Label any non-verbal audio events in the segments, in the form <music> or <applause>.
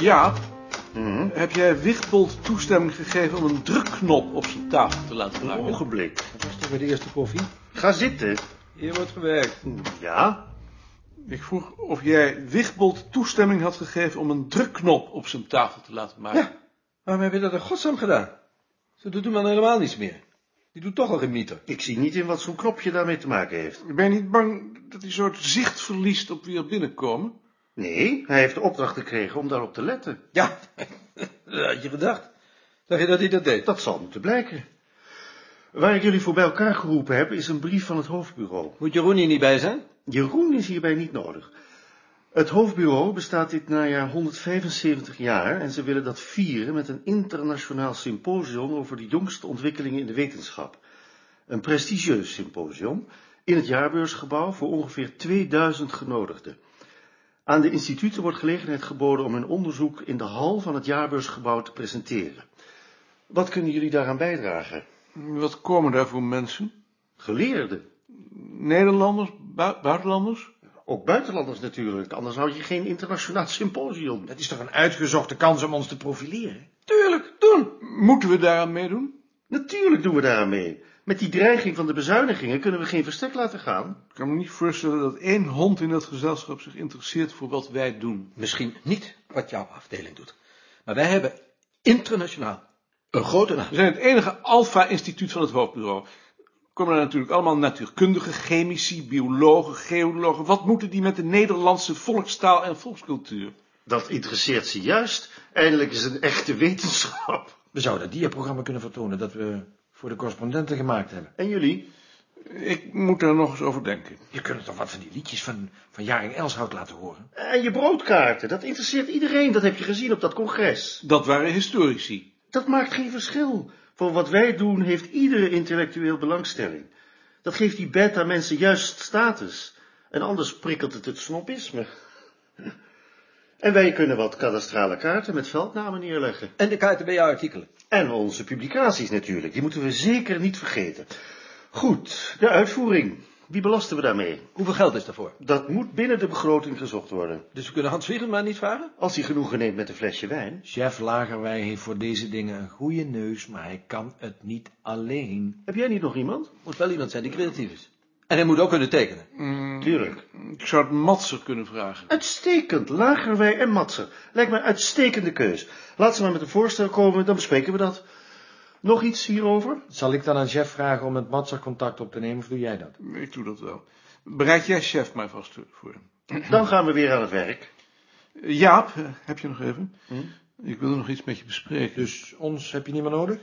Jaap, Mhm. heb jij Wichtbold toestemming gegeven om een drukknop op zijn tafel te laten Een maken? ogenblik. Oh, Dat was toch weer de eerste koffie? Ga zitten. Hier wordt gewerkt. Ja? Hm. Ik vroeg of jij Wichtbold toestemming had gegeven om een drukknop op zijn tafel te laten maken. Ja. Waarom heb je dat in godsnaam gedaan? Ze doet hem dan helemaal niets meer. Die doet toch al geen mieter. Ik zie niet in wat zo'n knopje daarmee te maken heeft. Ik ben je niet bang dat hij soort zicht verliest op wie er binnenkomen. Nee, hij heeft de opdracht gekregen om daarop te letten. Ja, <laughs> dat had je gedacht. Dacht je dat hij dat deed? Dat zal moeten blijken. Waar ik jullie voor bij elkaar geroepen heb, is een brief van het hoofdbureau. Moet Jeroen hier niet bij zijn? Jeroen is hierbij niet nodig. Het hoofdbureau bestaat dit najaar 175 jaar en ze willen dat vieren met een internationaal symposium over de jongste ontwikkelingen in de wetenschap. Een prestigieus symposium in het jaarbeursgebouw voor ongeveer 2000 genodigden. Aan de instituten wordt gelegenheid geboden om hun onderzoek in de hal van het jaarbeursgebouw te presenteren. Wat kunnen jullie daaraan bijdragen? Wat komen daar voor mensen? Geleerden. Nederlanders? bui- buitenlanders? Ook buitenlanders natuurlijk, anders houd je geen internationaal symposium. Dat is toch een uitgezochte kans om ons te profileren? Tuurlijk, doen! Moeten we daaraan meedoen? Natuurlijk doen we daar aan mee. Met die dreiging van de bezuinigingen kunnen we geen verstek laten gaan. Ik kan me niet voorstellen dat één hond in dat gezelschap zich interesseert voor wat wij doen. Misschien niet wat jouw afdeling doet. Maar wij hebben internationaal een grote naam. We zijn het enige alfa-instituut van het hoofdbureau. Komen er natuurlijk allemaal natuurkundigen, chemici, biologen, geologen. Wat moeten die met de Nederlandse volkstaal en volkscultuur? Dat interesseert ze juist. Eindelijk is een echte wetenschap. We zouden dat diaprogramma kunnen vertonen dat we voor de correspondenten gemaakt hebben. En jullie? Ik moet daar nog eens over denken. Je kunt toch wat van die liedjes van, van Jaring Elshout laten horen? En je broodkaarten, dat interesseert iedereen. Dat heb je gezien op dat congres. Dat waren historici. Dat maakt geen verschil. Voor wat wij doen heeft iedere intellectueel belangstelling. Dat geeft die beta mensen juist status. En anders prikkelt het het snobisme. <laughs> En wij kunnen wat kadastrale kaarten met veldnamen neerleggen. En de kaarten bij jouw artikelen. En onze publicaties natuurlijk, die moeten we zeker niet vergeten. Goed, de uitvoering. Wie belasten we daarmee? Hoeveel geld is daarvoor? Dat moet binnen de begroting gezocht worden. Dus we kunnen Hans maar niet vragen? Als hij genoegen neemt met een flesje wijn. Chef Lagerwij heeft voor deze dingen een goede neus, maar hij kan het niet alleen. Heb jij niet nog iemand? Moet wel iemand zijn die creatief is. En hij moet ook kunnen tekenen. Tuurlijk. Mm, Ik zou het Matser kunnen vragen. Uitstekend. Lagerwij en Matser. Lijkt me een uitstekende keus. Laat ze maar met een voorstel komen, dan bespreken we dat. Nog iets hierover? Zal ik dan aan chef vragen om met Matser contact op te nemen of doe jij dat? Ik doe dat wel. Bereid jij chef mij vast voor. Dan gaan we weer aan het werk. Eh, Jaap, eh, heb je nog even? Ik wilde nog iets met je bespreken. Dus ons heb je niet meer nodig?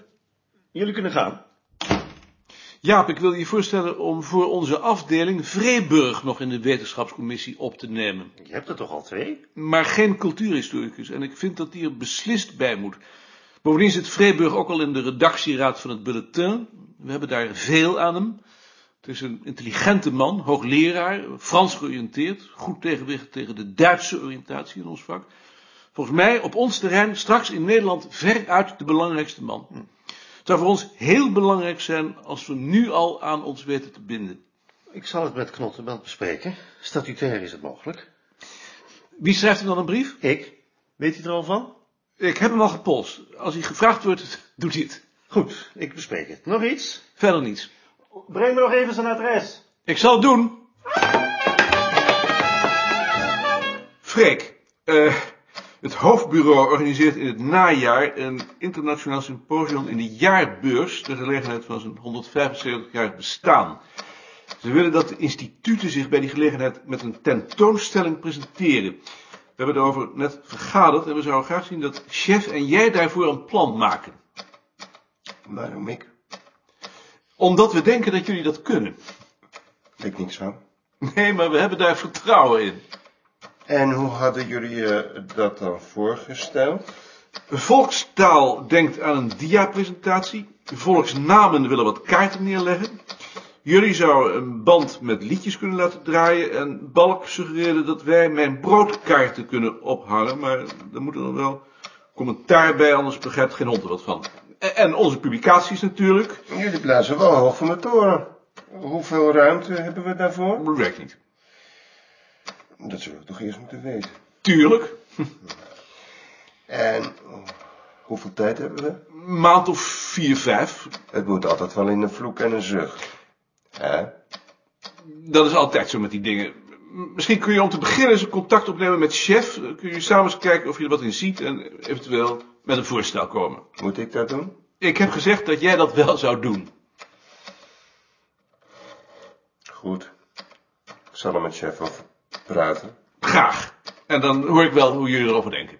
Jullie kunnen gaan. Jaap, ik wil je voorstellen om voor onze afdeling Vreeburg nog in de wetenschapscommissie op te nemen. Je hebt er toch al twee? Maar geen cultuurhistoricus en ik vind dat die er beslist bij moet. Bovendien zit Vreeburg ook al in de redactieraad van het bulletin. We hebben daar veel aan hem. Het is een intelligente man, hoogleraar, Frans georiënteerd, goed tegenwicht tegen de Duitse oriëntatie in ons vak. Volgens mij op ons terrein straks in Nederland veruit de belangrijkste man. Het zou voor ons heel belangrijk zijn als we nu al aan ons weten te binden. Ik zal het met Knottenbelt bespreken. Statutair is het mogelijk. Wie schrijft hem dan een brief? Ik? Weet hij er al van? Ik heb hem al gepolst. Als hij gevraagd wordt, <laughs> doet hij het. Goed, ik bespreek het. Nog iets? Verder niets. Breng me nog even zijn adres. Ik zal het doen. Freek, eh, het hoofdbureau organiseert in het najaar een internationaal symposium in de jaarbeurs, ter gelegenheid van zijn 175-jarig bestaan. Ze willen dat de instituten zich bij die gelegenheid met een tentoonstelling presenteren. We hebben daarover net vergaderd en we zouden graag zien dat chef en jij daarvoor een plan maken. Waarom ik? Omdat we denken dat jullie dat kunnen. Weet niks van. Nee, maar we hebben daar vertrouwen in. En hoe hadden jullie eh, dat dan voorgesteld? Volkstaal denkt aan een diapresentatie. Volksnamen willen wat kaarten neerleggen. Jullie zouden een band met liedjes kunnen laten draaien. En Balk suggereerde dat wij mijn broodkaarten kunnen ophangen. Maar daar moet er dan wel commentaar bij, anders begrijpt geen hond er wat van. En- En onze publicaties natuurlijk. Jullie blazen wel hoog van de toren. Hoeveel ruimte hebben we daarvoor? Dat werkt niet. Dat zullen we toch eerst moeten weten. Tuurlijk. En oh, hoeveel tijd hebben we? Maand of vier, vijf. Het moet altijd wel in een vloek en een zucht. Hè? Dat is altijd zo met die dingen. M- Misschien kun je om te beginnen eens contact opnemen met chef. Dan Kun je samen eens kijken of je er wat in ziet en eventueel met een voorstel komen. Moet ik dat doen? Ik heb gezegd dat jij dat wel zou doen. Goed. Ik zal er met chef over praten. Graag. En dan hoor ik wel hoe jullie erover denken.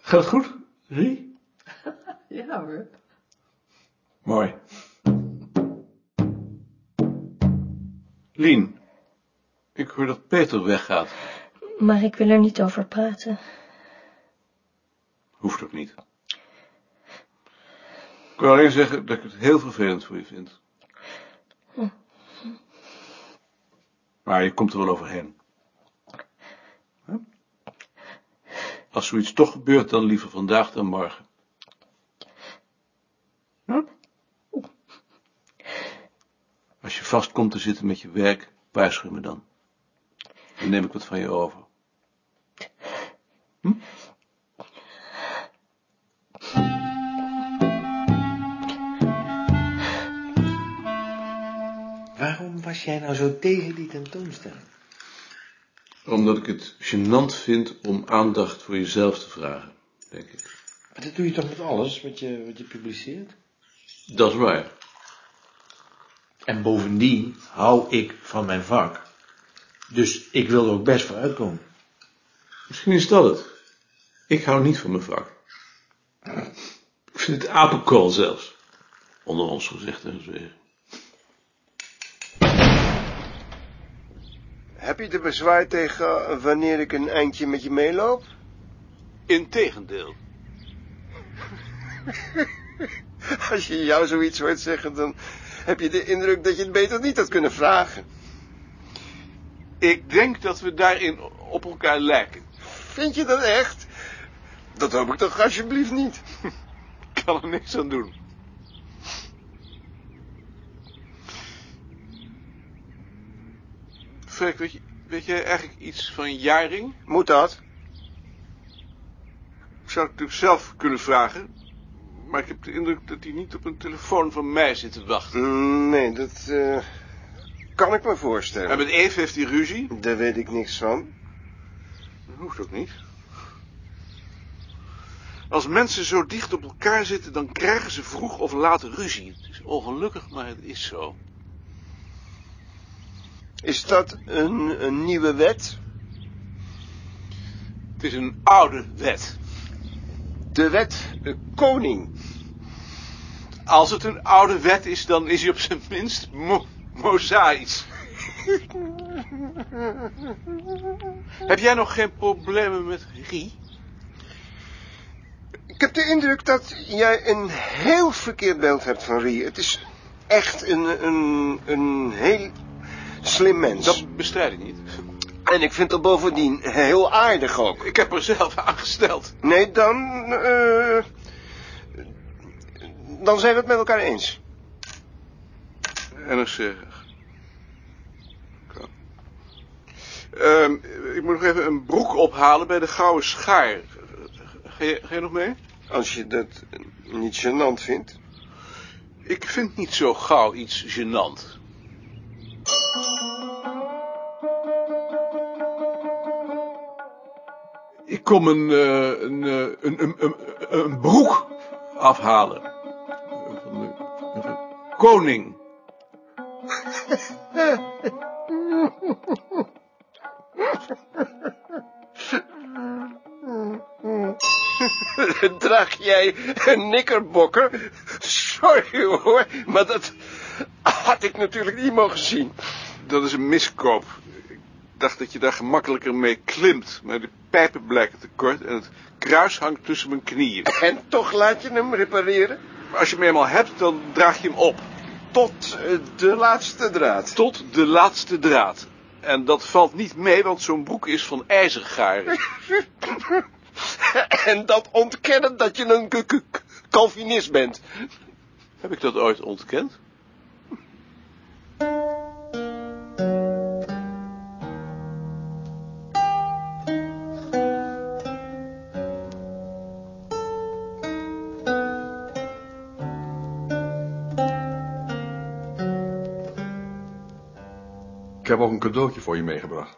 Gaat het goed, Rie? Ja hoor. Mooi. Lien, ik hoor dat Peter weggaat. Maar ik wil er niet over praten. Hoeft ook niet. Ik wil alleen zeggen dat ik het heel vervelend voor je vind. Maar je komt er wel overheen. Hè? Als zoiets toch gebeurt, dan liever vandaag dan morgen. Hè? Als je vast komt te zitten met je werk, waarschuw me dan. Dan neem ik wat van je over. Waarom was jij nou zo tegen die tentoonstelling? Omdat ik het gênant vind om aandacht voor jezelf te vragen, denk ik. Maar dat doe je toch met alles wat je, wat je publiceert? Dat is waar. En bovendien hou ik van mijn vak. Dus ik wil er ook best voor uitkomen. Misschien is dat het. Ik hou niet van mijn vak. Ik vind het apenkool zelfs. Onder ons gezegd en gezwegen. Heb je er bezwaar tegen wanneer ik een eindje met je meeloop? Integendeel. <laughs> Als je jou zoiets hoort zeggen, dan heb je de indruk dat je het beter niet had kunnen vragen. Ik denk dat we daarin op elkaar lijken. Vind je dat echt? Dat hoop ik toch alsjeblieft niet. Ik kan er niks aan doen. Freek, weet, je- weet jij eigenlijk iets van jaring? Moet dat? Ik zou het natuurlijk zelf kunnen vragen. Maar ik heb de indruk dat hij niet op een telefoon van mij zit te wachten. Mm, Nee, dat eh, kan ik me voorstellen. En met Eve heeft hij ruzie. Daar weet ik niks van. Dat hoeft ook niet. Als mensen zo dicht op elkaar zitten, dan krijgen ze vroeg of laat ruzie. Het is ongelukkig, maar het is zo. Is dat een, een nieuwe wet? Het is een oude wet. De wet eh, koning. Als het een oude wet is, dan is hij op zijn minst mo mozaïs. heb jij nog geen problemen met Rie? Ik heb de indruk dat jij een heel verkeerd beeld hebt van Rie. Het is echt een, een, een heel slim mens. Dat bestrijd ik niet. En ik vind dat bovendien heel aardig ook. Ik heb er zelf aangesteld. Nee, dan... eh, dan zijn we het met elkaar eens. NRC. Kan. Ehm, ik moet nog even een broek ophalen bij de Gouden Schaar. Ga je, ga je nog mee? Als je dat niet gênant vindt. Ik vind niet zo gauw iets gênant. Ik kom een, eh, een, eh, een, een, een, een broek afhalen. Van de, van de koning. Draag jij een nikkerbokker? Sorry hoor, maar dat had ik natuurlijk niet mogen zien. Dat is een miskoop. Ik dacht dat je daar gemakkelijker mee klimt, maar de pijpen blijken te kort en het kruis hangt tussen mijn knieën. En toch laat je hem repareren? Maar als je hem eenmaal hebt, dan draag je hem op. Tot eh, de laatste draad. Tot de laatste draad. En dat valt niet mee, want zo'n broek is van ijzergaren. <laughs> En dat ontkennen dat je een k- k- Calvinist bent. Heb ik dat ooit ontkend? heb ook een cadeautje voor je meegebracht.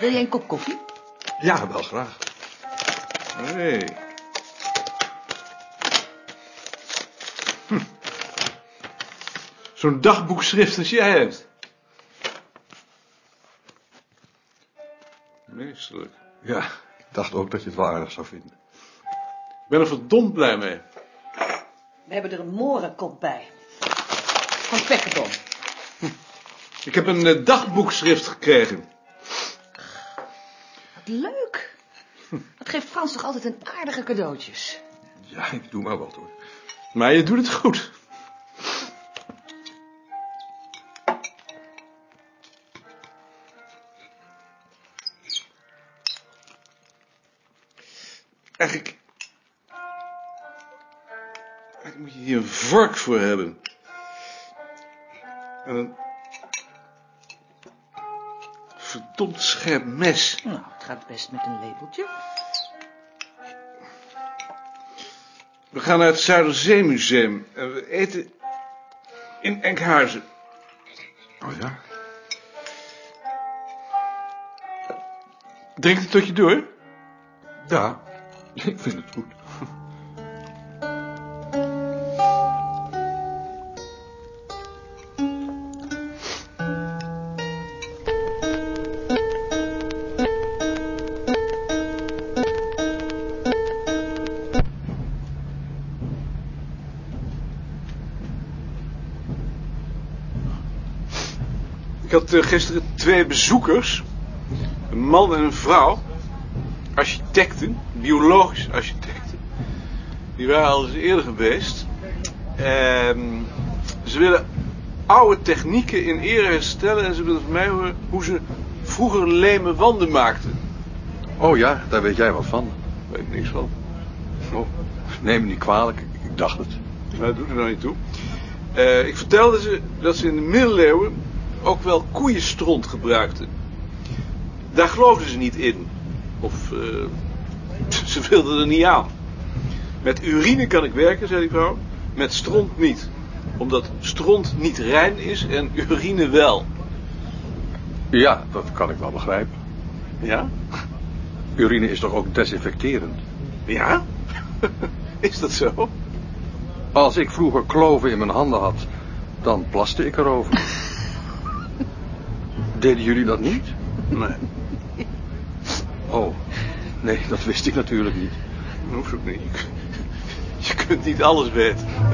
Wil jij een kop koffie? Ja, wel graag. Hé. Hm. Zo'n dagboekschrift als jij hebt. Meesterlijk. Ja, ik dacht ook dat je het wel aardig zou vinden. Ik ben er verdomd blij mee. We hebben er een morenkop bij. Van Pekkenboom. Ik heb een eh, dagboekschrift gekregen. Wat leuk. Dat geeft Frans toch altijd een aardige cadeautjes. Ja, ik doe maar wat hoor. Maar je doet het goed. Eigenlijk... Eigenlijk moet je hier een vark voor hebben. En een... Verdomd scherp mes. Nou, het gaat best met een labeltje. We gaan naar het Zuiderzeemuseum. En we eten in Enkhuizen. Oh ja? Drink het tot je door. Ja, ik vind het goed. Ik had eh, gisteren twee bezoekers. Een man en een vrouw. Architecten. Biologisch architecten. Die waren al eens eerder geweest. Ehm, ze willen oude technieken in ere herstellen. En ze willen van mij horen hoe ze vroeger leme wanden maakten. Oh ja, daar weet jij wat van. Daar weet ik niks van. Oh, neem me niet kwalijk, ik ik dacht het. Maar dat doet er nou niet toe. Eh, ik vertelde ze dat ze in de middeleeuwen ook wel koeienstront gebruikten. Daar geloofden ze niet in. Of eh, <laughs> ze wilden er niet aan. Met urine kan ik werken, zei die vrouw. Met stront niet. Omdat stront niet rein is en urine wel. Ja, dat kan ik wel begrijpen. Ja? Urine is toch ook desinfecterend? Ja? <laughs> is dat zo? Als ik vroeger kloven in mijn handen had, dan plaste ik <laughs> erover. Deden jullie dat niet? Nee, Oh, nee, dat wist ik natuurlijk niet. dat hoeft ook niet. Je kunt niet alles weten.